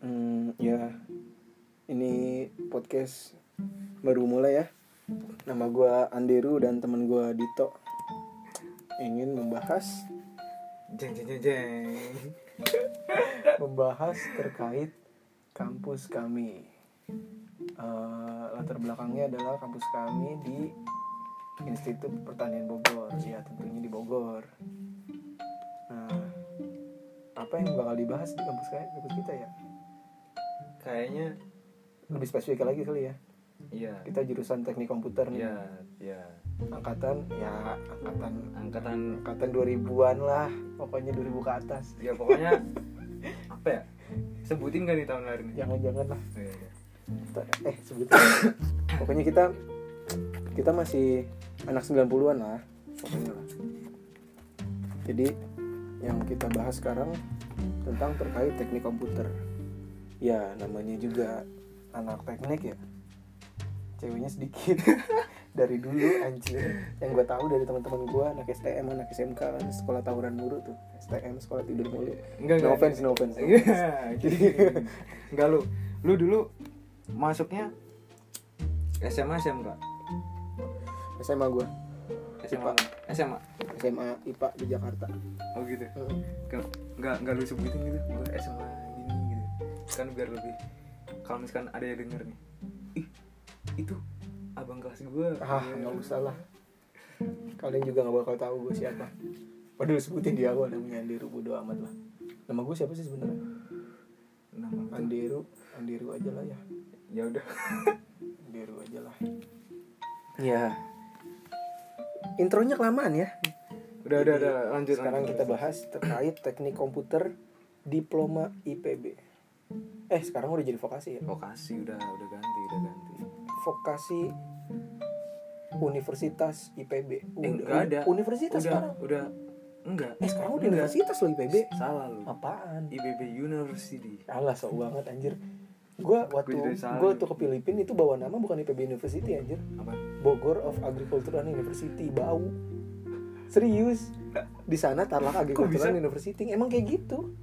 Hmm, ya. podcast baru mulai ya. Nama gua Anderu dan teman gua Dito ingin membahas Jeng jeng jeng jeng. membahas terkait kampus kami. Eh, latar belakangnya adalah kampus kami di Institut Pertanian Bogor, ya tentunya di Bogor. Nah, apa yang bakal dibahas di kampus kami, kampus kita ya? Kayaknya Lebih spesifik lagi kali ya. iya. Kita jurusan teknik komputer nih, Iya, iya. angkatan ya angkatan Angkatan angkatan 2000-an lah, pokoknya 2000 ke atas. ya pokoknya apa ya? Sebutin gak nih tahun lahir nih? Jangan-jangan lah Oh, iya, iya. Ta- eh sebut pokoknya kita kita masih anak 90-an lah pokoknya lah. jadi yang kita bahas sekarang tentang terkait teknik komputer ya namanya juga anak teknik ya ceweknya sedikit dari dulu anjir yang gue tahu dari teman-teman gue anak STM anak SMK kan sekolah tawuran mulu tuh STM sekolah tidur mulu Enggak, no offense no offense no Iya, offense. Jadi enggak lu. Lu dulu masuknya SMA SMK. SMA gue SMA. SMA. SMA IPA di Jakarta Oh gitu. Hmm. Enggak enggak enggak lu sebutin gitu. Gua SMA gini gitu. Kan biar lebih kalau misalkan ada yang denger nih. Ih, itu abang kelas gua. Ah, Iya. nggak usah lah. Kalian juga nggak bakal tahu gue siapa. Padahal sebutin di awal namanya Andiru bodo amat lah. Nama gue siapa sih sebenarnya? Nama lu tuh- Andiru, Andiru aja lah ya. ya udah Andiru aja lah. Ya. Intronya kelamaan ya. udah udah udah lanjut Sekarang lanjut. kita bahas terkait teknik komputer diploma IPB. Eh, sekarang udah jadi vokasi ya. vokasi udah udah ganti udah ganti Vokasi Universitas IPB. Eh, nggak ada. Universitas udah sekarang. udah enggak Eh, sekarang udah Enggak. universitas loh IPB. salah lu Apaan? IBB University Alah sok banget anjir Gue waktu Gua Hmm. jadi salah ya. gue nih. tuh ke Filipina itu bawa nama bukan IPB University anjir apa Bogor of Agricultural University bau Serius Di sana Tarlak Agricultural bisa? University Emang kayak gitu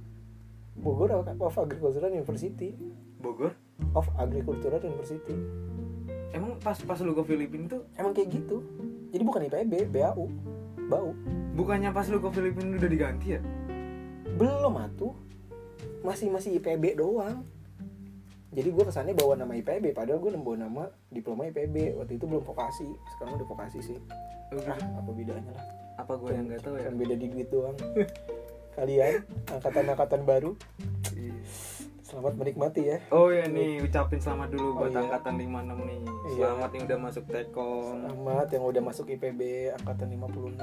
Bogor of, of Agricultural University Bogor Of Agricultural University emang pas pas lu ke Filipina tuh Emang kayak gitu Jadi bukan IPB, BAU Bau bukannya pas lu ke Filipina udah diganti ya Belum atuh Masih-masih IPB doang Jadi gue kesannya bawa nama IPB Padahal gue bawa nama diploma IPB Waktu itu belum vokasi Sekarang udah vokasi sih Lu- Ah apa bedanya lah apa gua yang nggak tahu ya Cuman beda di duit doang Kalian angkatan-angkatan baru Iya. Selamat menikmati ya oh ya nih ucapin selamat dulu Oh, buat iya. angkatan 56 nih Iya. selamat yang udah masuk E tekom Selamat yang udah masuk IPB Angkatan 56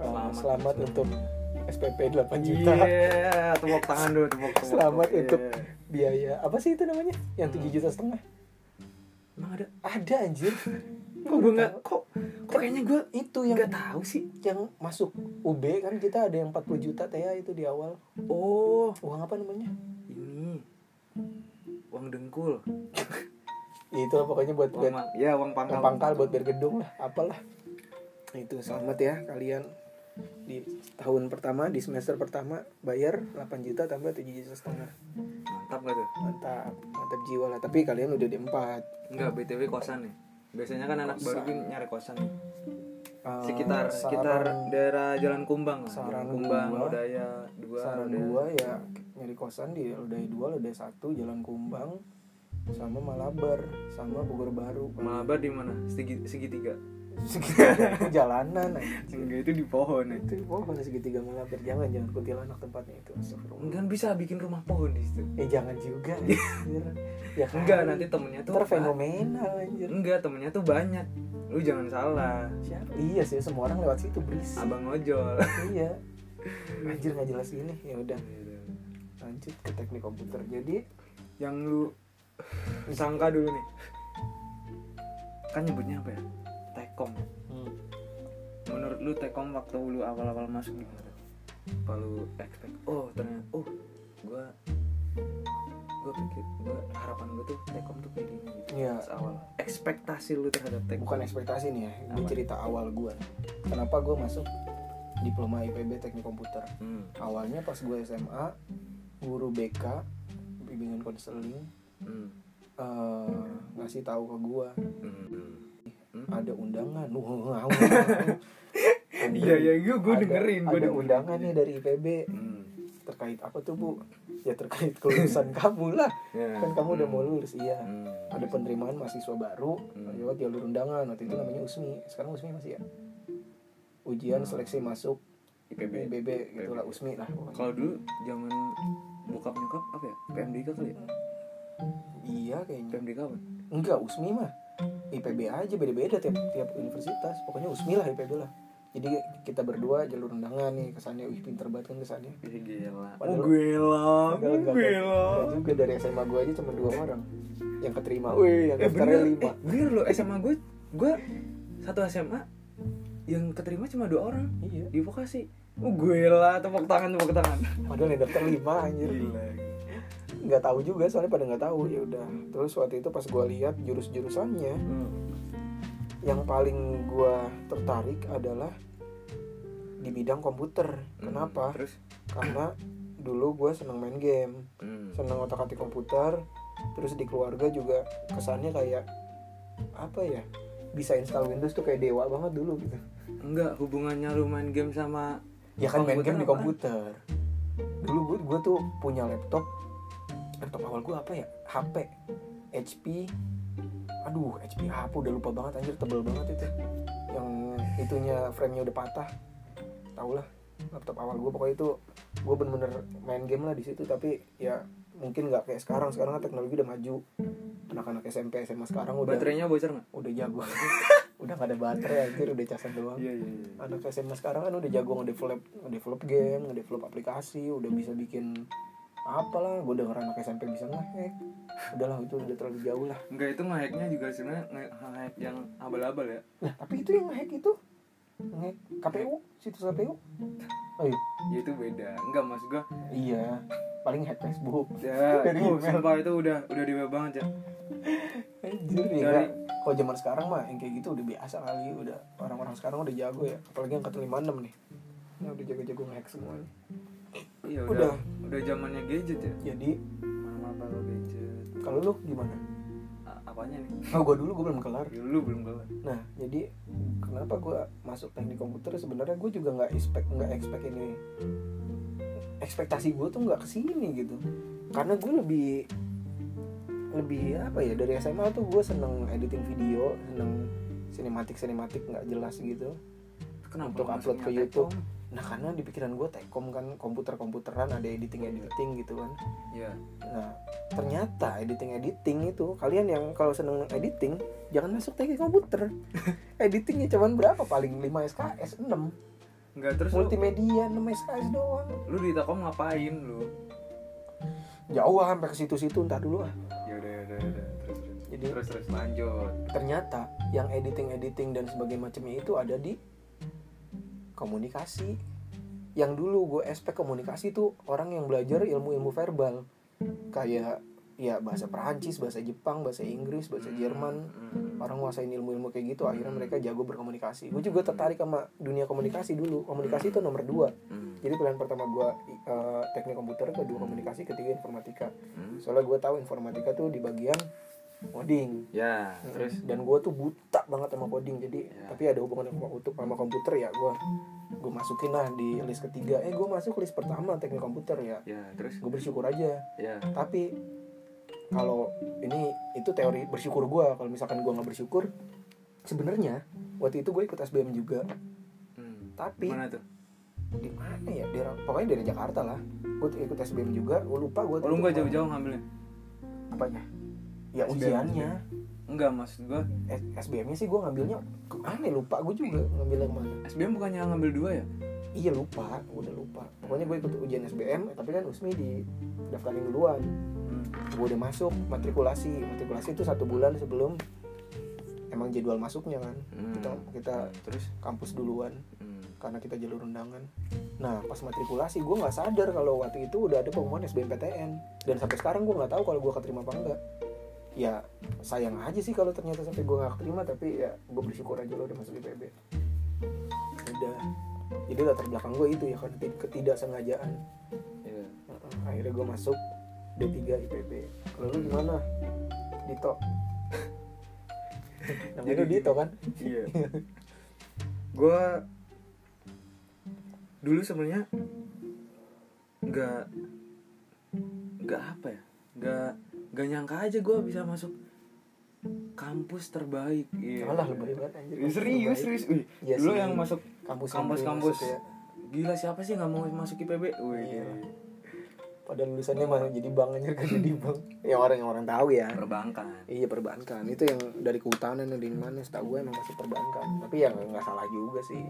Eh, Selamat, untuk SPP 8 juta Iya, tepuk tangan dulu, tepuk Iya. tangan. Selamat ya, untuk biaya Apa sih itu namanya? Yang 7 juta setengah Emang ada? Ada anjir Kok gue nggak? Kok? Kok kayaknya gue Itu yang nggak tahu sih? yang masuk UB kan kita ada yang 40 juta teh ya, itu di awal Oh, uang apa namanya ini uang dengkul ya itulah pokoknya buat uang buat ma- ya uang pangkal uang pangkal buat biar gedung lah apalah itu selamat ya kalian di tahun pertama di semester pertama bayar 8 juta tambah 7 juta setengah mantap gak tuh mantap mantap jiwa lah tapi kalian udah di empat enggak btw kosan ya biasanya kan anak baru kan nyari kosan Eh, sekitar saran- sekitar daerah jalan kumbang lah Saran jalan kumbang gua- Lodaya dua saran Lodaya. gua ya nyari kosan di Lodaya 2, Lodaya 1, Jalan Kumbang sama Malabar sama Bogor Baru malabar di mana Segit- segitiga sekitar jalanan anjing. enggak itu di pohon ya. itu pohon segitiga malabar jangan jangan kuntilanak tempatnya itu astagfirullah enggak bisa bikin rumah pohon di situ eh jangan juga anjir. ya kan? enggak nanti temennya tuh ah. Ntar fenomenal anjir enggak temennya tuh banyak lu jangan salah siapa iya sih semua orang lewat situ berisik abang ojol iya anjir nggak jelas gini ya Iya, udah lanjut ke teknik komputer jadi yang lu sangka dulu nih kan nyebutnya apa ya tekom Hmm. menurut lu tekom waktu lu awal-awal masuk gimana apa lu expect oh ternyata oh gua gua pikir gua harapan gua tuh tekom tuh kayak gini gitu Iya. pas awal ekspektasi lu terhadap tekom bukan ekspektasi nih ya ini Apa? cerita awal gue kenapa gue masuk diploma IPB teknik komputer hmm. awalnya pas gue SMA guru BK bimbingan konseling hmm. eh, ngasih tahu ke gua ada undangan wow Iya ya, gue gue Ada- dengerin, gue ada undangan nih dari IPB Hmm. terkait apa tuh bu ya terkait kelulusan kamu lah Ya. kan kamu udah mau lulus iya Hmm. ada penerimaan mahasiswa baru Hmm. lewat jalur undangan waktu itu namanya usmi sekarang usmi masih ya ujian Hmm. seleksi masuk IPB. IPB gitulah usmi gitu lah pokoknya. Kalau dulu zaman bokap nyokap apa ya? PMDK kali ya? iya kayaknya PMDK apa? enggak usmi mah IPB aja beda-beda tiap tiap universitas pokoknya usmi lah IPB lah jadi kita berdua jalur undangan nih kesannya wih pinter banget kan kesannya Ih, Iya, gila. Padahal- gila, Enggak, enggak, enggak. Enggak juga dari SMA gue aja cuma dua orang yang keterima. Wih, yang Eh daftarnya bener, lima. eh, bener loh SMA gue, gue satu SMA yang keterima cuma dua orang Iya. di vokasi. Oh gila, tepuk tangan, tepuk tangan. Padahal yang daftar lima anjir. Nggak tahu juga soalnya pada nggak tahu. Ya udah. Terus waktu itu pas gue lihat jurus-jurusannya, Hmm. yang paling gue tertarik adalah di bidang komputer. Kenapa? Terus? Karena dulu gue seneng main game, Hmm. seneng otak-atik komputer. Terus di keluarga juga kesannya kayak apa ya? Bisa install Windows tuh kayak dewa banget dulu gitu. Enggak, hubungannya lu main game sama Ya kan main Komputer game di apa? komputer. Dulu gue gue tuh punya laptop. Laptop awal gue apa ya? HP. HP. Aduh, HP HP udah lupa banget anjir tebel banget itu. Yang itunya frame-nya udah patah. Tau lah laptop awal gue pokoknya itu gue bener-bener main game lah di situ tapi ya mungkin nggak kayak sekarang sekarang kan teknologi udah maju anak-anak SMP SMA sekarang udah baterainya bocor nggak? udah jago udah gak ada baterai anjir udah casan doang iya iya. anak SMA sekarang kan udah jago ngedevelop ngedevelop game, ngedevelop aplikasi, udah bisa bikin apalah, gue denger anak SMP bisa ngehack. Udahlah itu udah terlalu jauh lah. Enggak itu ngehacknya juga sebenarnya ngehack yang abal-abal ya. Nah, tapi itu yang ngehack itu ngehack KPU, situs KPU. Oh iya. Ya itu beda. Enggak maksud gue Iya, paling hack Facebook. ya Dari oh, email. sumpah itu udah udah dewa banget ya. Anjir Dari- ya. nggak? Kalau zaman sekarang mah yang kayak gitu udah biasa kali, udah orang-orang sekarang udah jago ya. Apalagi yang angkatan 56 nih. Ya udah jago-jago ngehack semua. nih. Iya Udah. udah udah zamannya gadget ya. Jadi, Mana-mana pakai gadget. kalau lu gimana? A- apanya nih? Oh, gua dulu gua belum kelar. Dulu belum kelar. Nah, jadi kenapa gue masuk teknik komputer sebenarnya gue juga nggak expect nggak expect ini ekspektasi gue tuh nggak kesini gitu karena gue lebih lebih apa ya dari SMA tuh gue seneng editing video seneng sinematik sinematik nggak jelas gitu Kenapa Untuk masuknya upload ke Tekkom? YouTube. nah karena di pikiran gue tekom kan komputer komputeran ada editing editing gitu kan Iya. nah ternyata editing editing itu kalian yang kalau seneng editing jangan masuk teknik komputer editingnya cuman berapa paling 5 SKS 6 Enggak terus lu, multimedia 6 SKS doang lu di Telkom ngapain lu? jauh ah, sampai ke situ-situ entar dulu ah Ya udah ya udah ya udah. terus terus. Jadi- terus terus lanjut. ternyata yang editing editing dan sebagainya macamnya itu ada di komunikasi yang dulu gue aspek komunikasi tuh orang yang belajar ilmu-ilmu verbal kayak ya bahasa Perancis bahasa Jepang bahasa Inggris bahasa Jerman Hmm. orang nguasain ilmu-ilmu kayak gitu akhirnya mereka jago berkomunikasi gue juga tertarik sama dunia komunikasi dulu komunikasi itu nomor dua Hmm. jadi pilihan pertama gue teknik komputer kedua komunikasi ketiga informatika Hmm. soalnya gue tahu informatika tuh di bagian coding Ya, terus dan gue tuh buta banget sama coding jadi Ya. tapi ada hubungan sama untuk sama komputer ya gue gue masukin lah di list ketiga eh gue masuk list pertama teknik komputer ya ya, terus gue bersyukur aja ya. tapi kalau ini itu teori bersyukur gua kalau misalkan gua nggak bersyukur sebenarnya waktu itu gue ikut SBM juga Hmm. tapi Mana tuh? di mana ya di, pokoknya dari Jakarta lah gue ikut SBM juga gue lupa gue Oh, lu enggak jauh-jauh ngambilnya? apanya ya SBM. ujiannya Enggak maksud gua SBM-nya sih gue ngambilnya aneh lupa gue juga ngambilnya kemana SBM bukannya ngambil dua ya? iya lupa gua udah lupa pokoknya gue ikut ujian SBM tapi kan Usmi di daftarin duluan Hmm. gue udah masuk matrikulasi matrikulasi itu satu bulan sebelum emang jadwal masuknya kan Hmm. kita kita Ya, Terus kampus duluan hmm. karena kita jalur undangan nah pas matrikulasi gue nggak sadar kalau waktu itu udah ada pengumuman SBMPTN dan sampai sekarang gue nggak tahu kalau gue keterima apa enggak ya sayang aja sih kalau ternyata sampai gue nggak keterima tapi ya gue bersyukur aja lo udah masuk IPB udah jadi latar belakang gue itu ya kan keti- ketidaksengajaan Ya. Heeh, akhirnya gue masuk D3 IPB kalau lu gimana Dito namanya lu Dito kan iya gue dulu sebenarnya nggak nggak apa ya nggak nggak nyangka aja gue bisa masuk kampus terbaik iya Alah, lebay banget, anjir, kampus serius terbaik. serius Wih, Iya dulu sih. yang masuk kampus kampus kampus gila siapa sih nggak mau masuk IPB Wih, ya. Iya. pada lulusannya malah jadi bank aja kan jadi bank ya orang yang orang tahu ya perbankan iya perbankan itu yang dari kehutanan yang dari mana setahu gue emang masih perbankan tapi ya nggak nggak salah juga sih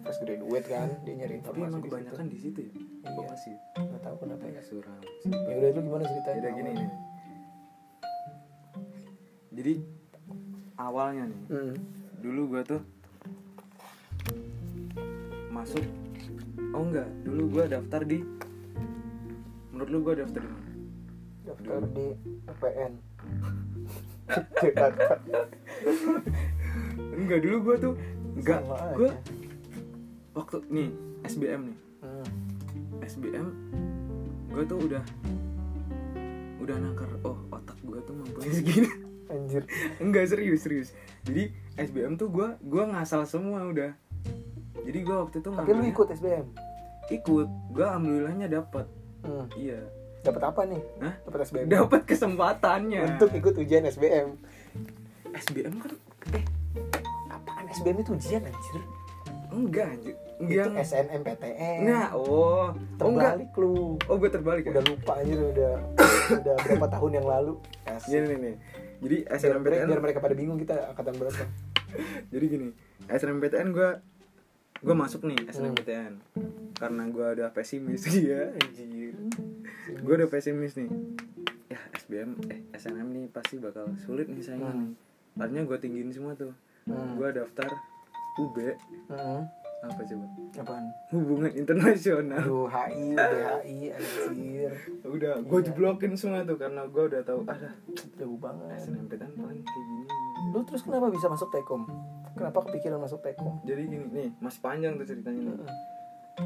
pas graduate kan dia nyari tapi informasi di situ emang kebanyakan di situ ya Iya. masih nggak tahu kenapa ya kayak suram ya udah lu gimana ceritanya Jadi gini nih. Jadi awalnya nih, Hmm. dulu gua tuh masuk oh enggak, dulu gua daftar di menurut lu gua daftar di mana? daftar di PPN Jakarta Enggak, dulu gua tuh enggak Sama aja. gua waktu nih SBM nih. Hmm. SBM gua tuh udah udah nakar oh otak gua tuh mampunya segini anjir Enggak serius serius. Jadi SBM tuh gua gua ngasal semua udah. Jadi gua waktu itu tapi lu ngambilnya- ikut SBM Ikut. Gua alhamdulillahnya dapat. hmm. Iya. dapat apa nih Hah? dapat SBM Dapat kesempatannya. untuk ikut ujian SBM SBM kan eh apaan SBM itu ujian anjir enggak anjir. itu Enggak. SNMPTN Nah, oh. Oh enggak. terbalik lu Oh, gua terbalik udah ya. lupa anjir udah udah berapa tahun yang lalu Asik. Gini nih, nih. Jadi biar, mereka, SNMPTN biar mereka pada bingung kita angkatan berapa jadi gini SNMPTN gue gue masuk nih Hmm. SNMPTN karena gue udah pesimis ya anjir gue udah pesimis nih ya SBM eh SNM nih pasti bakal sulit nih saingan nih akhirnya gue tinggiin semua tuh Hmm. gue daftar UB hmm. apa coba apaan hubungan internasional lu HI UBHI anjir Ya udah gue jeblokin semua tuh karena gue udah tahu "Ah, ada jauh banget SNMPTN kan paling kayak gini lu terus kenapa bisa masuk E Tekom kenapa kepikiran masuk E Tekom jadi gini nih masih panjang tuh ceritanya nih Heeh.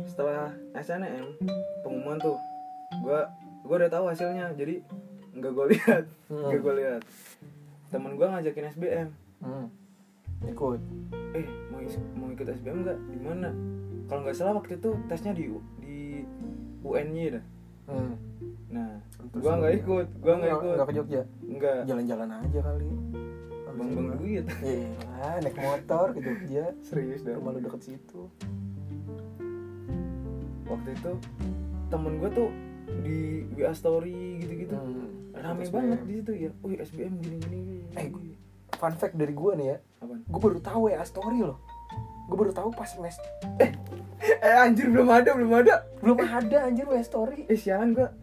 setelah SNM pengumuman tuh gua gua udah tahu hasilnya jadi nggak gua lihat Hmm. nggak gua lihat temen gua ngajakin SBM hmm. ikut eh mau is- mau ikut SBM nggak di mana kalau nggak salah waktu itu tesnya di U- di UNY dah hmm. nah Terus gua nggak lu- ikut gua nggak Iya. Nggak- ikut nggak ke Jogja nggak jalan-jalan aja kali bang bang duit Iya, lah, naik motor ke Jogja serius dah rumah lu deket situ waktu itu temen gua tuh di WA story gitu-gitu Hmm. Gitu. rame SBM. banget di situ ya, wih SBM gini gini. gini. Eh, fun fact dari gua nih ya Apaan? gue baru tahu ya story loh gue baru tahu pas mes Eh anjir belum ada belum ada. belum ada anjir WA story Eh sialan gua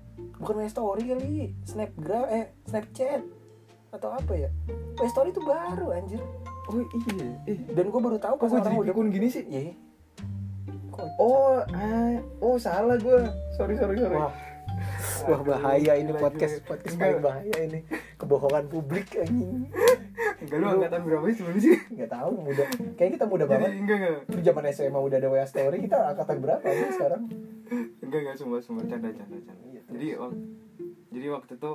bukan WA story kali snapgram eh snapchat atau apa ya WA story itu baru anjir Oh iya. Eh dan gue baru tahu kok pas gua orang jadi udah pikun gini sih? iya Kok- Oh eh, oh salah gua. Sorry sorry sorry. wah wah bahaya ini Gila, podcast gila. podcast Enggak. paling bahaya ini kebohongan publik anjing Enggak lu angkatan berapa sih sebenarnya sih? nggak tahu muda kayaknya kita muda Jadi banget Iya, enggak enggak Lu zaman SMA udah ada WA story kita angkatan berapa ya sekarang enggak enggak semua semua canda canda canda. Iya, terus. Jadi wak- jadi waktu itu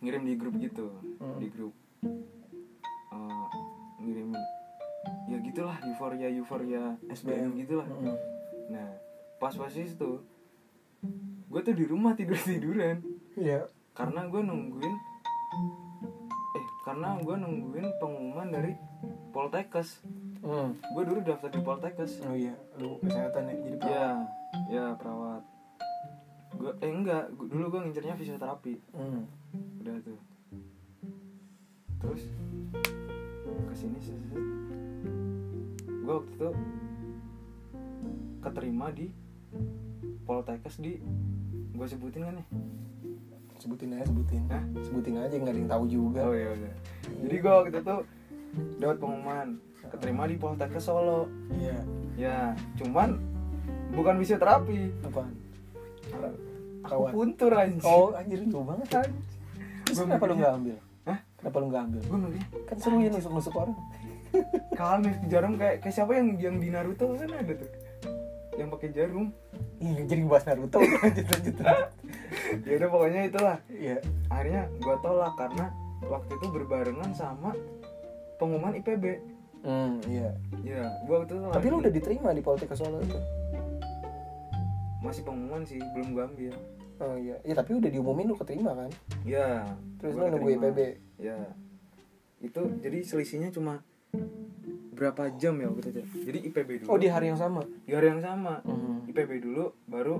ngirim di grup gitu Hmm. di grup Eh, ngirim ya gitulah euforia euforia SBM gitulah. Mm-mm. Nah pas posisi itu gue tuh di rumah tidur tiduran. iya karena gue nungguin eh karena gue nungguin pengumuman dari Poltekkes Hmm. gue dulu daftar di Poltekkes Oh iya, lu kesehatan ya jadi perawat. ya ya perawat gue eh enggak Gua- dulu gue ngincernya fisioterapi Hmm. udah tuh terus kesini gue waktu itu keterima di Poltekkes di gue sebutin kan nih Sebutin aja, sebutin. Hah? Sebutin aja nggak ada yang tahu juga. Oh iya udah. Jadi gua waktu itu dapat pengumuman keterima di Poltekkes Solo. Iya, Ya, cuman bukan fisioterapi. apaan? Aku Perawat. puntur anjir. Oh, anjir jauh banget kan. Terus Gua kenapa lu mikirnya- nggak ambil? Hah? Kenapa lu nggak ambil? Gue mikirnya Kan seru ya nusuk-nusuk orang. kalah nih jarum kayak kayak siapa yang yang di Naruto kan ada tuh. Yang pakai jarum. Iya, jadi bahas Naruto. lanjut, lanjut, lanjut. Ya udah pokoknya itulah. Iya. Akhirnya gua tolak karena waktu itu berbarengan sama pengumuman IPB hmm iya ya gua waktu itu tapi lagi- lu udah diterima di Politika Solo itu masih pengumuman sih belum gua ambil oh iya ya tapi udah diumumin lu keterima kan ya terus gua lu nunggu keterima. IPB ya itu jadi selisihnya cuma berapa jam ya waktu itu jadi IPB oh dulu di hari yang sama di hari yang sama hmm. IPB dulu baru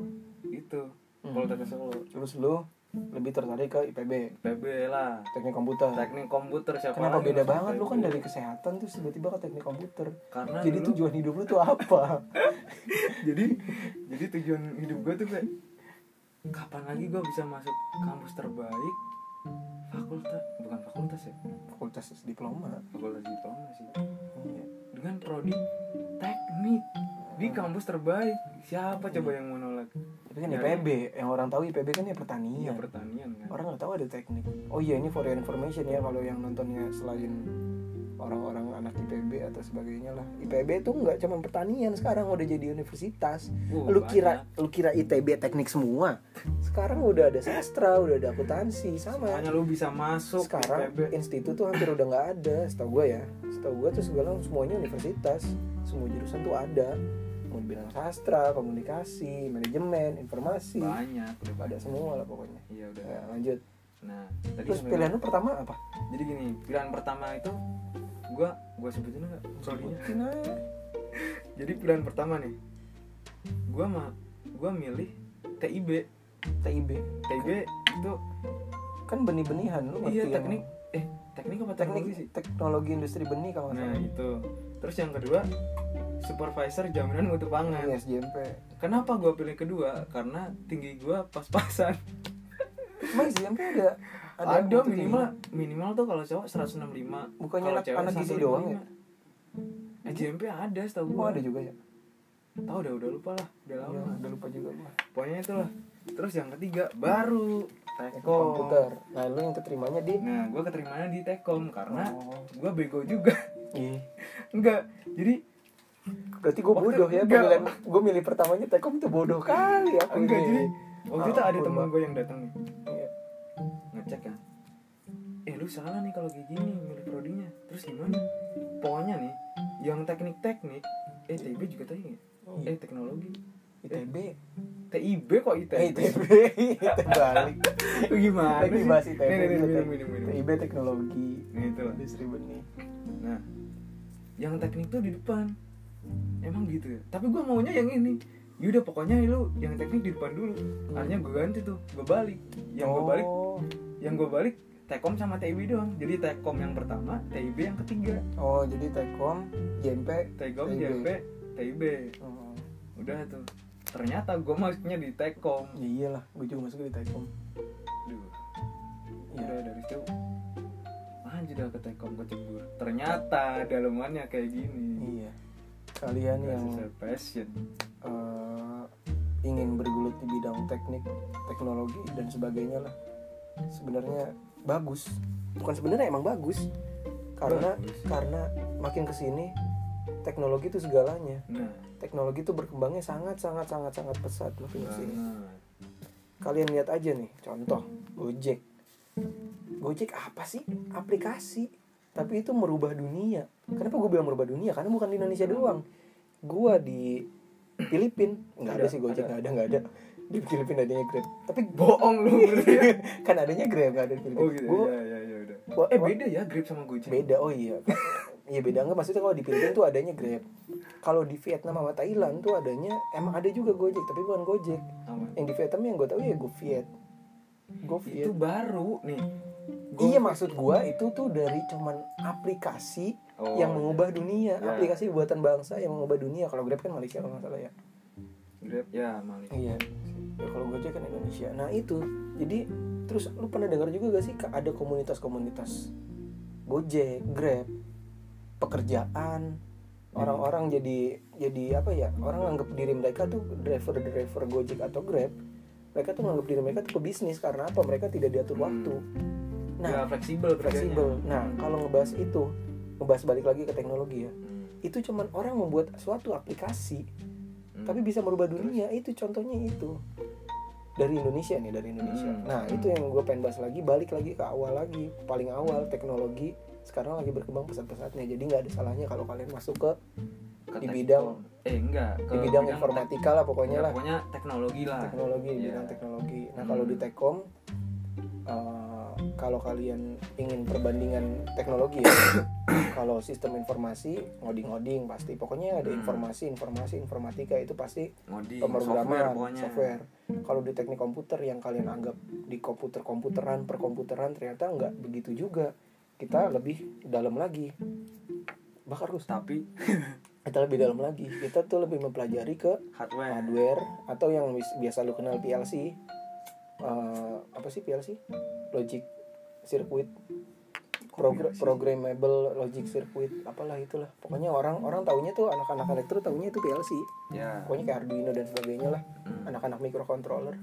itu Hmm. Poltek Solo terus lu lebih tertarik ke IPB IPB lah teknik komputer teknik komputer siapa Kenapa lagi beda masuk banget lu kan IPB? dari kesehatan terus tiba-tiba ke teknik komputer. karena Jadi dulu- tujuan hidup lu tuh apa? jadi jadi tujuan hidup gue tuh kayak kapan lagi gue bisa masuk kampus terbaik fakultas bukan fakultas ya Fakultas diploma. fakultas diploma sih Iya. dengan prodi teknik di kampus terbaik siapa coba yang mau nolak Tapi kan Ya. IPB, yang orang tahu IPB kan ya ya pertanian. pertanian kan Orang nggak tahu ada teknik. Oh iya ini for your information ya kalau yang nontonnya selain orang-orang anak IPB atau sebagainya lah. IPB tuh nggak cuma pertanian sekarang udah jadi universitas. Wah, Lu kira lu Oh, banyak. kira ITB teknik semua. Sekarang udah ada sastra, udah ada akuntansi sama. makanya lu bisa masuk sekarang IPB. institut tuh hampir udah nggak ada setahu gue ya setahu gue tuh segala semuanya universitas semua jurusan tuh ada mau bilang sastra komunikasi manajemen informasi banyak udah ada banyak semua lah pokoknya iya udah ya, lanjut nah tadi terus sampai- pilihan lu pertama apa jadi gini pilihan pertama itu gue gue sebutin nggak prodinya Sebutin aja. jadi pilihan pertama nih gua mah gua milih TIB TIB TIB itu kan benih-benihan lu ngerti iya yang- teknik eh teknik teknik apa Oh, teknologi sih teknologi industri benih kalau nggak nah salah itu terus yang kedua supervisor jaminan mutu pangan ISJMP kenapa gua pilih kedua karena tinggi gua pas-pasan Emang ISJMP ada ada, yang itu minimal minimal tuh kalau cowok 165 Bukannya kalau anak- cewek anak gizi doang ya? 155. SJMP ada setahu tinggi? gua oh ada juga ya tahu udah udah lupa lah udah lama Iya, udah lupa juga gua pokoknya itulah terus yang ketiga baru Teknik Tekom komputer nah lu yang keterimanya di Nah, gue keterimanya di Tekom karena Oh, gue bego juga. iya. Enggak. Jadi Berarti gue Waktu bodoh ya enggak. pemilihan gue milih pertamanya Telkom tuh bodoh kali ya, aku enggak ini. jadi waktu itu iya, ada Ah, Ampun, teman Bang. gue yang datang nih, Iya. ngecek kan. Eh lu salah nih kalau kayak gini milih prodinya. Terus gimana? Pokoknya nih yang teknik-teknik eh TIB juga tadi ya? Oh, iya. Eh teknologi. ITB. TIB kok ITB? Eh ITB. Terbalik. Lu gimana Lagi Nah, sih? bahas Nih, ITB. nih, nih, minum, minum, minum. ITB teknologi Nah, itulah. industri benih. Nah, yang teknik tuh di depan. Emang gitu ya? Tapi gue maunya yang ini. Yaudah pokoknya lu yang teknik di depan dulu. Akhirnya gue ganti tuh, gue balik. Yang gue balik, Oh. yang gue balik Tekom sama TIB doang. Jadi Tekom yang pertama, TIB yang ketiga. Oh jadi Telkom, JMP. Tekom, TIB. JP, TIB. Oh, Udah tuh. Ternyata gue masuknya di Tekom. ya iyalah, gue juga masuk di Telkom. Duh, Iya. udah dari situ anjir dah ke Tekom kecebur. Ternyata dalamannya kayak gini. Iya. Kalian Gak Iya, yang sesuai passion. eh, ingin bergelut di bidang teknik, teknologi dan sebagainya lah. Sebenarnya bagus. Bukan sebenarnya emang bagus. Karena Bagus. karena makin kesini teknologi itu segalanya. Nah, Teknologi itu berkembangnya sangat sangat sangat sangat pesat makin Nah, kesini. banget. Kalian lihat aja nih, contoh Gojek. Gojek apa sih? Aplikasi. Tapi itu merubah dunia. Kenapa gue bilang merubah dunia? Karena bukan di Indonesia doang. Gue di Filipina nggak ada, Ada, sih Gojek, nggak ada. ada, nggak ada. Di Filipina adanya Grab. Tapi bohong lu berarti ya? kan adanya Grab, nggak ada di Filipina. oh gitu Gua- ya ya ya udah gua- eh gua- beda ya grip sama gojek iya, beda oh iya iya beda nggak maksudnya kalau di Filipina tuh adanya Grab kalau di Vietnam sama Thailand tuh adanya emang ada juga Gojek tapi bukan Gojek Apa? yang di Vietnam yang gue tahu ya GoViet GoViet itu baru nih iya maksud gue itu tuh dari cuman aplikasi Oh, yang mengubah dunia Ya. aplikasi buatan bangsa yang mengubah dunia kalau Grab kan Malaysia kalau nggak salah ya grip ya maling iya ya kalau Gojek kan Indonesia nah itu jadi terus lu pernah dengar juga gak sih Kak, ada komunitas-komunitas Gojek Grab pekerjaan orang-orang jadi jadi apa ya orang anggap diri mereka tuh driver driver Gojek atau Grab mereka tuh nganggap diri mereka tuh pebisnis karena apa mereka tidak diatur Hmm. waktu nah nah fleksibel Hmm. kerjanya. fleksibel nah kalau ngebahas itu ngebahas balik lagi ke teknologi ya Hmm. itu cuman orang membuat suatu aplikasi Hmm. tapi bisa merubah Terus? dunia itu contohnya itu dari Indonesia nih dari Indonesia. Hmm. Nah itu yang gue pengen bahas lagi balik lagi ke awal lagi paling awal teknologi sekarang lagi berkembang pesat-pesatnya jadi nggak ada salahnya kalau kalian masuk ke Ke Di teknik- bidang- eh enggak di bidang informasi informatika lah pokoknya lah ya, pokoknya teknologi lah teknologi di Iya. bidang teknologi. Nah Hmm. kalau di Tekom eh, kalau kalian ingin perbandingan teknologi ya kalau sistem informasi ngoding-ngoding pasti pokoknya ada Hmm. informasi informasi informatika itu pasti ngoding software pemrograman software, pokoknya kalau di teknik komputer yang kalian anggap di komputer komputeran perkomputeran ternyata nggak begitu juga kita lebih dalam lagi bakar Gus. tapi kita lebih dalam lagi kita tuh lebih mempelajari ke hardware hardware atau yang wis- biasa lu kenal PLC Eh, apa sih PLC logic circuit Progr- programmable logic circuit apalah itulah pokoknya orang orang taunya tuh anak-anak elektro taunya itu PLC ya pokoknya kayak Arduino dan sebagainya lah hmm. anak-anak microcontroller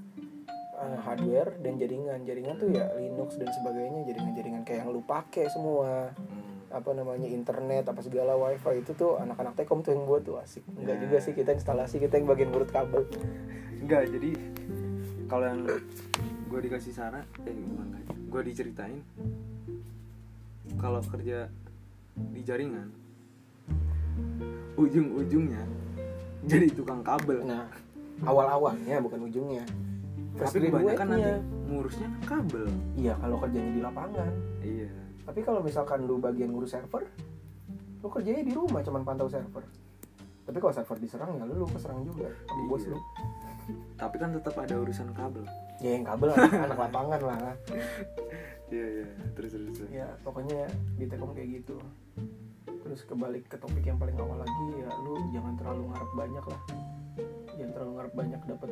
eh, hardware dan jaringan jaringan tuh ya Linux dan sebagainya jaringan-jaringan kayak yang lu pakai semua Hmm. apa namanya internet apa segala wifi itu tuh anak-anak Telkom tuh yang buat tuh asik enggak Ya. juga sih kita instalasi kita yang bagian urut kabel enggak jadi kalau yang gue dikasih saran eh bukan gue diceritain kalau kerja di jaringan ujung-ujungnya jadi tukang kabel nah awal-awalnya bukan ujungnya First tapi kebanyakan nanti graduate-nya. ngurusnya kabel iya kalau kerjanya di lapangan iya tapi kalau misalkan lu bagian ngurus server lu kerjanya di rumah cuman pantau server tapi kalau server diserang ya lu, lu keserang juga sama bos Iya. lu tapi kan tetap ada urusan kabel ya yang kabel anak, anak lapangan lah iya iya terus terus, terus. ya pokoknya di Telkom kayak gitu terus kebalik ke topik yang paling awal lagi ya lu jangan terlalu ngarep banyak lah jangan terlalu ngarep banyak dapet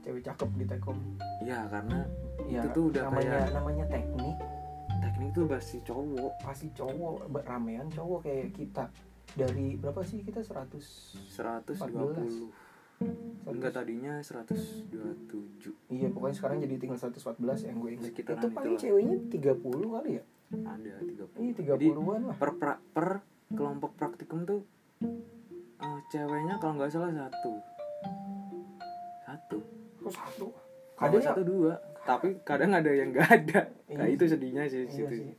cewek cakep di Telkom iya karena ya Itu tuh udah namanya kayak- namanya teknik teknik tuh pasti cowok pasti cowok ba- ramean cowok kayak kita dari berapa sih kita 100 120 enggak 100. tadinya 127 iya pokoknya sekarang jadi tinggal 114 yang gue ingat Sekitaran itu paling itulah. ceweknya 30 kali ya ada 30 iya Jadi, 30-an lah per pra- per kelompok praktikum tuh eh, ceweknya kalau nggak salah satu satu kok satu kalau nggak Kadang- ya- satu dua tapi kadang ada yang nggak ada nah Iya itu sih. sedihnya Iya sih situ sih.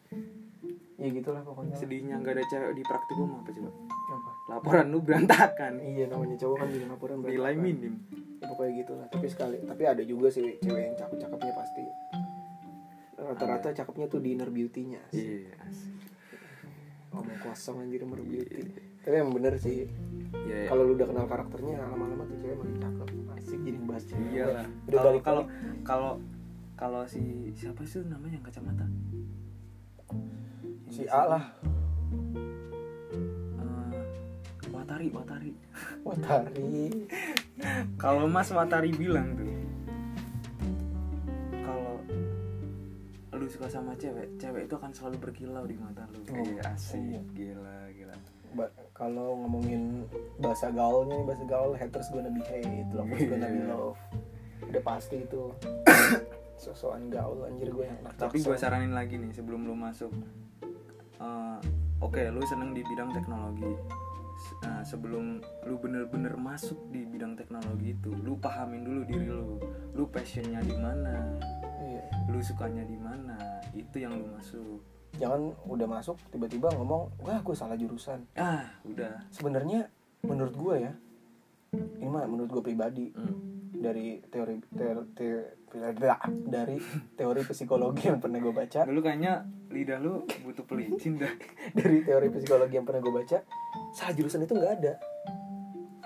ya gitulah pokoknya lah. sedihnya nggak ada cewek di praktikum apa coba Apa? laporan lu berantakan Iya namanya cowok kan bikin laporan berarti nilai apa? minim Ya, pokoknya gitu lah Tapi sekali Tapi ada juga sih cewek yang cakep-cakepnya pasti Rata-rata cakepnya tuh di inner beauty-nya sih. iya asik. Ngomong kosong anjir inner beauty Tapi yang bener sih Iya, iya. Kalau lu udah kenal karakternya Lama-lama tuh cewek makin cakep Asik jadi bahas cewek iyalah Udah kalau balik kalau lagi. kalau kalau si siapa sih namanya yang kacamata Si A lah Eh, Watari Watari Watari Kalau Mas Watari bilang tuh, kalau lu suka sama cewek, cewek itu akan selalu berkilau di mata lu. Oh, Iya, asik, iya. gila, gila. Ba- Kalau ngomongin bahasa gaulnya nih, Bahasa gaul haters gonna be hate Lovers gonna be Iya. love Udah pasti itu Sosokan gaul anjir gue yang anak Tapi Jackson. gue saranin lagi nih sebelum lu masuk. Eh, Oke, lu seneng di bidang teknologi. Se- eh, sebelum lu bener-bener masuk di bidang teknologi itu, lu pahamin dulu diri lu. Lu passionnya di mana? Iya. Lu sukanya di mana? Itu yang lu masuk. jangan udah masuk tiba-tiba ngomong wah gue salah jurusan Ah, udah. sebenarnya menurut gue ya ini mah menurut gue pribadi Hmm. dari teori teori, dari teori psikologi yang pernah gue baca Lu kayaknya lidah lu butuh pelicin dah. dari teori psikologi yang pernah gue baca salah jurusan itu nggak ada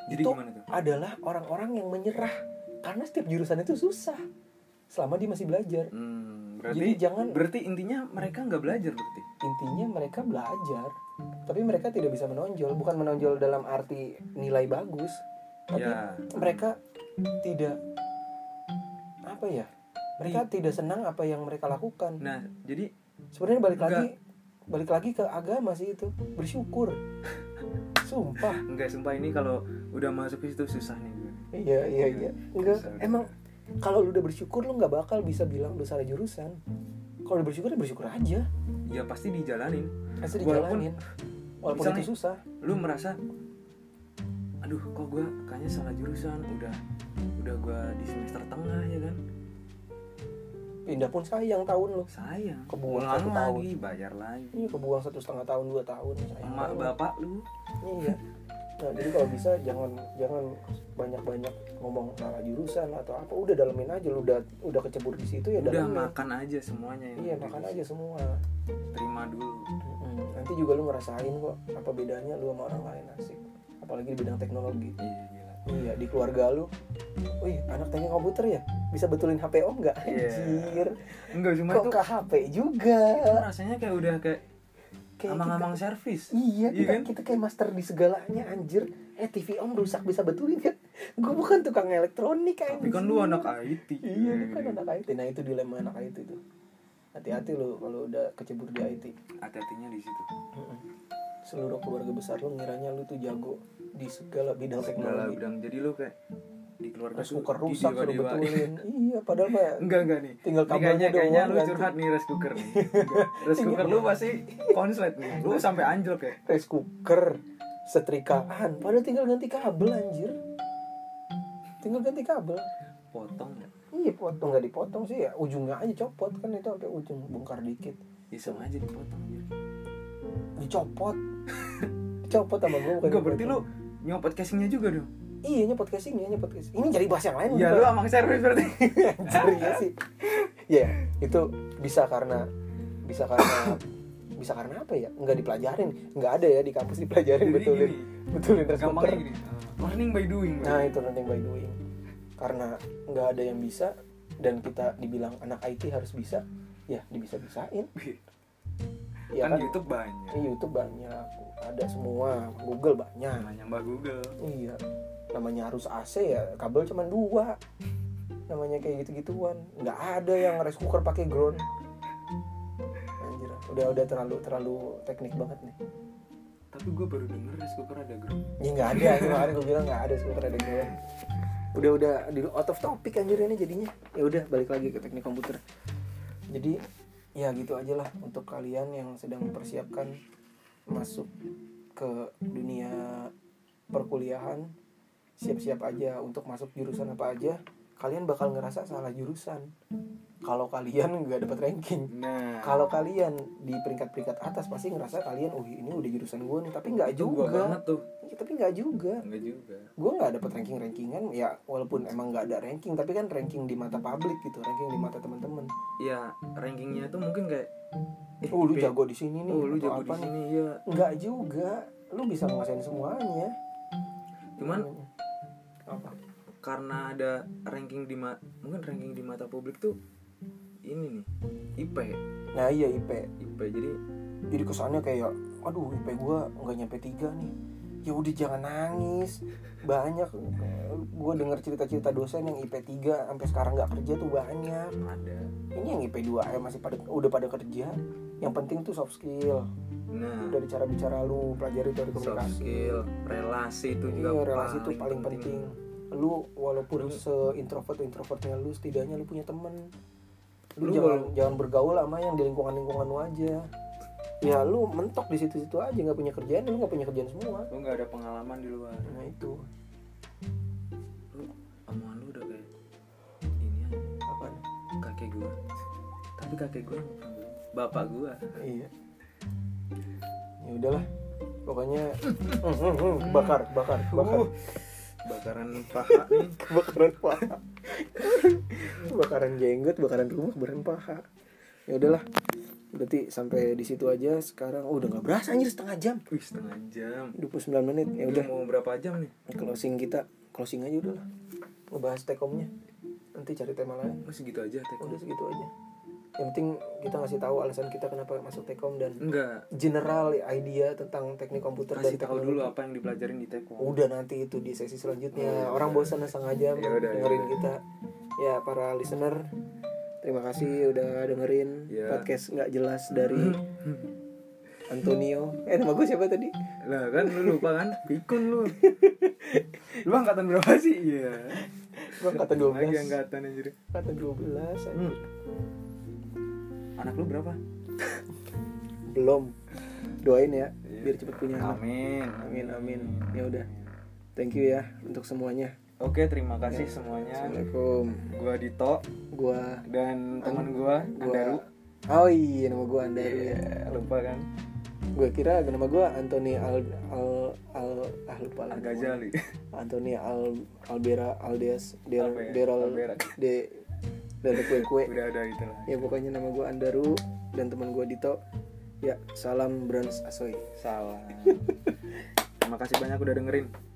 Jadi Itu- gimana tuh? adalah orang-orang yang menyerah karena setiap jurusan itu susah selama dia masih belajar Hmm, berarti Jadi jangan- berarti intinya mereka nggak belajar berarti. intinya mereka belajar tapi mereka tidak bisa menonjol bukan menonjol dalam arti nilai bagus tapi Ya. mereka tidak apa ya Iya. mereka tidak senang apa yang mereka lakukan Nah, jadi sebenarnya balik lagi balik lagi ke agama sih itu bersyukur sumpah nggak sumpah ini kalau udah masuk ke situ susah nih gue. iya iya iya enggak Susah. emang kalau lu udah bersyukur lu nggak bakal bisa bilang lu salah jurusan kalau udah bersyukur ya bersyukur aja Ya pasti dijalanin. pasti Walaupun- dijalanin walaupun misalnya- itu susah Lu merasa aduh kok gue kayaknya salah jurusan udah udah gue di semester tengah ya kan pindah pun sayang tahun lo sayang Kebuang Ulang satu tahun. lagi bayar lagi iya kebuang satu setengah tahun dua tahun sayang emak banget. bapak lu iya nah, jadi kalau bisa jangan jangan banyak banyak ngomong salah jurusan atau apa udah dalemin aja lu udah udah kecebur di situ ya udah dalemin makan aja semuanya yang iya ada makan di aja semua situ. terima dulu Mm-mm. nanti juga lu ngerasain kok apa bedanya lu sama orang lain asik apalagi di bidang teknologi iya gila iya di keluarga lu wih anak teknik komputer ya bisa betulin HP om nggak Iya. anjir enggak cuma kok itu ke HP juga gitu. itu rasanya kayak udah kayak Kayak amang-amang servis Iya, Iya kita, kan? kita kayak master di segalanya anjir. Eh TV Om rusak bisa betulin kan? Gue bukan tukang elektronik anjir. tapi kan lu anak IT Iya, lu kan anak IT. Nah, itu dilema anak IT itu. Hati-hati lu kalau udah kecebur di IT. hati-hatinya di situ Seluruh keluarga besar lu ngiranya lu tuh jago di segala bidang segala teknologi. bidang jadi lu kayak di keluarga Rice tuh cooker rusak suruh didewa-dewain. betulin. iya, padahal kayak enggak enggak nih Tinggal Ini kabelnya kayaknya kayaknya doang lu ganti. curhat nih rice cooker nih rice cooker lu pasti Iya. konslet nih lu sampai anjlok ya rice cooker, setrikaan, padahal tinggal ganti kabel anjir. Tinggal ganti kabel. potong ya Iya potong nggak dipotong sih ya ujungnya aja copot kan itu sampai ujung bongkar dikit iseng Ya aja dipotong gitu dicopot dicopot sama gue bukan enggak berarti lu dipotong. nyopot casingnya juga dong iya nyepot casing ya nyepot casing ini jadi bahas yang lain ya lu amang servis berarti anjir ya sih ya itu bisa karena bisa karena bisa karena apa ya nggak dipelajarin nggak ada ya di kampus dipelajarin Jadi betulin gini, betulin rice gampangnya cooker. gini uh, learning by doing Nah bro. itu learning by doing Karena nggak ada yang bisa Dan kita dibilang anak IT harus bisa Ya dibisa-bisain Ya Iya. kan kan, YouTube banyak Ini YouTube banyak Ada semua Google banyak namanya Mbak Google Iya Namanya harus AC ya Kabel cuma dua Namanya kayak gitu-gituan nggak ada yang rice cooker pakai ground Anjir Udah udah terlalu terlalu teknik banget nih tapi gue baru denger rice cooker ada grup Ya nggak ada anjir. Makanya gue bilang nggak ada sekuter ada ground udah udah di out of topic anjir ini jadinya ya udah balik lagi ke teknik komputer jadi ya gitu aja lah untuk kalian yang sedang mempersiapkan masuk ke dunia perkuliahan siap-siap aja untuk masuk jurusan apa aja kalian bakal ngerasa salah jurusan kalau kalian nggak dapat ranking nah kalau kalian di peringkat-peringkat atas pasti ngerasa kalian oh ini udah jurusan gue nih tapi nggak itu juga gua banget tuh Ya, tapi nggak juga enggak juga gue nggak dapet ranking rankingan ya walaupun emang nggak ada ranking tapi kan ranking di mata publik gitu ranking di mata teman-teman ya rankingnya tuh mungkin kayak eh, oh lu B- jago di sini nih oh lu atau jago di apa nih sini ya nggak juga lu bisa menguasain semuanya cuman apa karena ada ranking di ma- mungkin ranking di mata publik tuh ini nih IP nah iya IP IP jadi jadi kesannya kayak aduh IP gue nggak nyampe tiga nih ya udah jangan nangis banyak gue denger cerita-cerita dosen yang IP 3 sampai sekarang nggak kerja tuh banyak ada ini yang IP 2 eh, masih pada udah pada kerja yang penting tuh soft skill nah dari cara bicara lu pelajari dari gitu soft komunikasi skill relasi itu juga iya relasi itu paling penting, lu walaupun Lu- se introvert introvertnya lu setidaknya lu punya temen lu, Lu jangan walau- jangan bergaul sama yang di lingkungan lingkungan lu aja ya lu mentok di situ situ aja nggak punya kerjaan lu nggak punya kerjaan semua lu nggak ada pengalaman di luar nah itu lu omongan lu udah kayak ini aja apa kakek gua tapi kakek gua bukan gua. bapak gua iya ya udahlah pokoknya Hmm, hmm, hmm, bakar bakar bakar Uh, bakaran paha nih kebakaran paha kebakaran jenggot bakaran rumah kebakaran paha ya udahlah berarti sampai di situ aja sekarang oh, udah nggak berasa anjir setengah jam wih setengah jam 29 menit ya Lu udah mau berapa jam nih closing kita closing aja udah lah ngebahas tekomnya nanti cari tema lain masih gitu aja tekom udah segitu aja yang penting kita ngasih tahu alasan kita kenapa masuk tekom dan enggak general idea tentang teknik komputer kasih dan tahu teknologi. dulu apa yang dipelajarin di Tekom. udah nanti itu di sesi selanjutnya Ya, orang udah. bosan sengaja Ya, udah, dengerin ya. kita ya para listener terima kasih udah dengerin Ya. podcast nggak jelas dari Antonio eh nama gue siapa tadi Lah kan lu lupa kan? Pikun lu. lu angkatan berapa sih? Iya. Gua angkatan 12. Lagi angkatan anjir. kata 12 aja. Hmm. Anak lu berapa? belum doain ya Iya. biar cepet punya anak Amin. amin amin ya udah thank you ya untuk semuanya Oke, terima kasih semuanya. Assalamualaikum. Gua Dito Gua dan teman gua Andaru. gua Oh iya nama gua Andaru ya. Iya, lupa kan? Gue kira nama gua Anthony Al Al Al ah lupa lah. Agak jali. Anthony Al Albera Aldeas Del Apa ya? Deral Albera. De Del Kue Kue. Udah ada itu lah. Ya pokoknya nama gua Andaru dan teman gua Dito. Ya salam Brans Asoy. Salah. terima kasih banyak udah dengerin.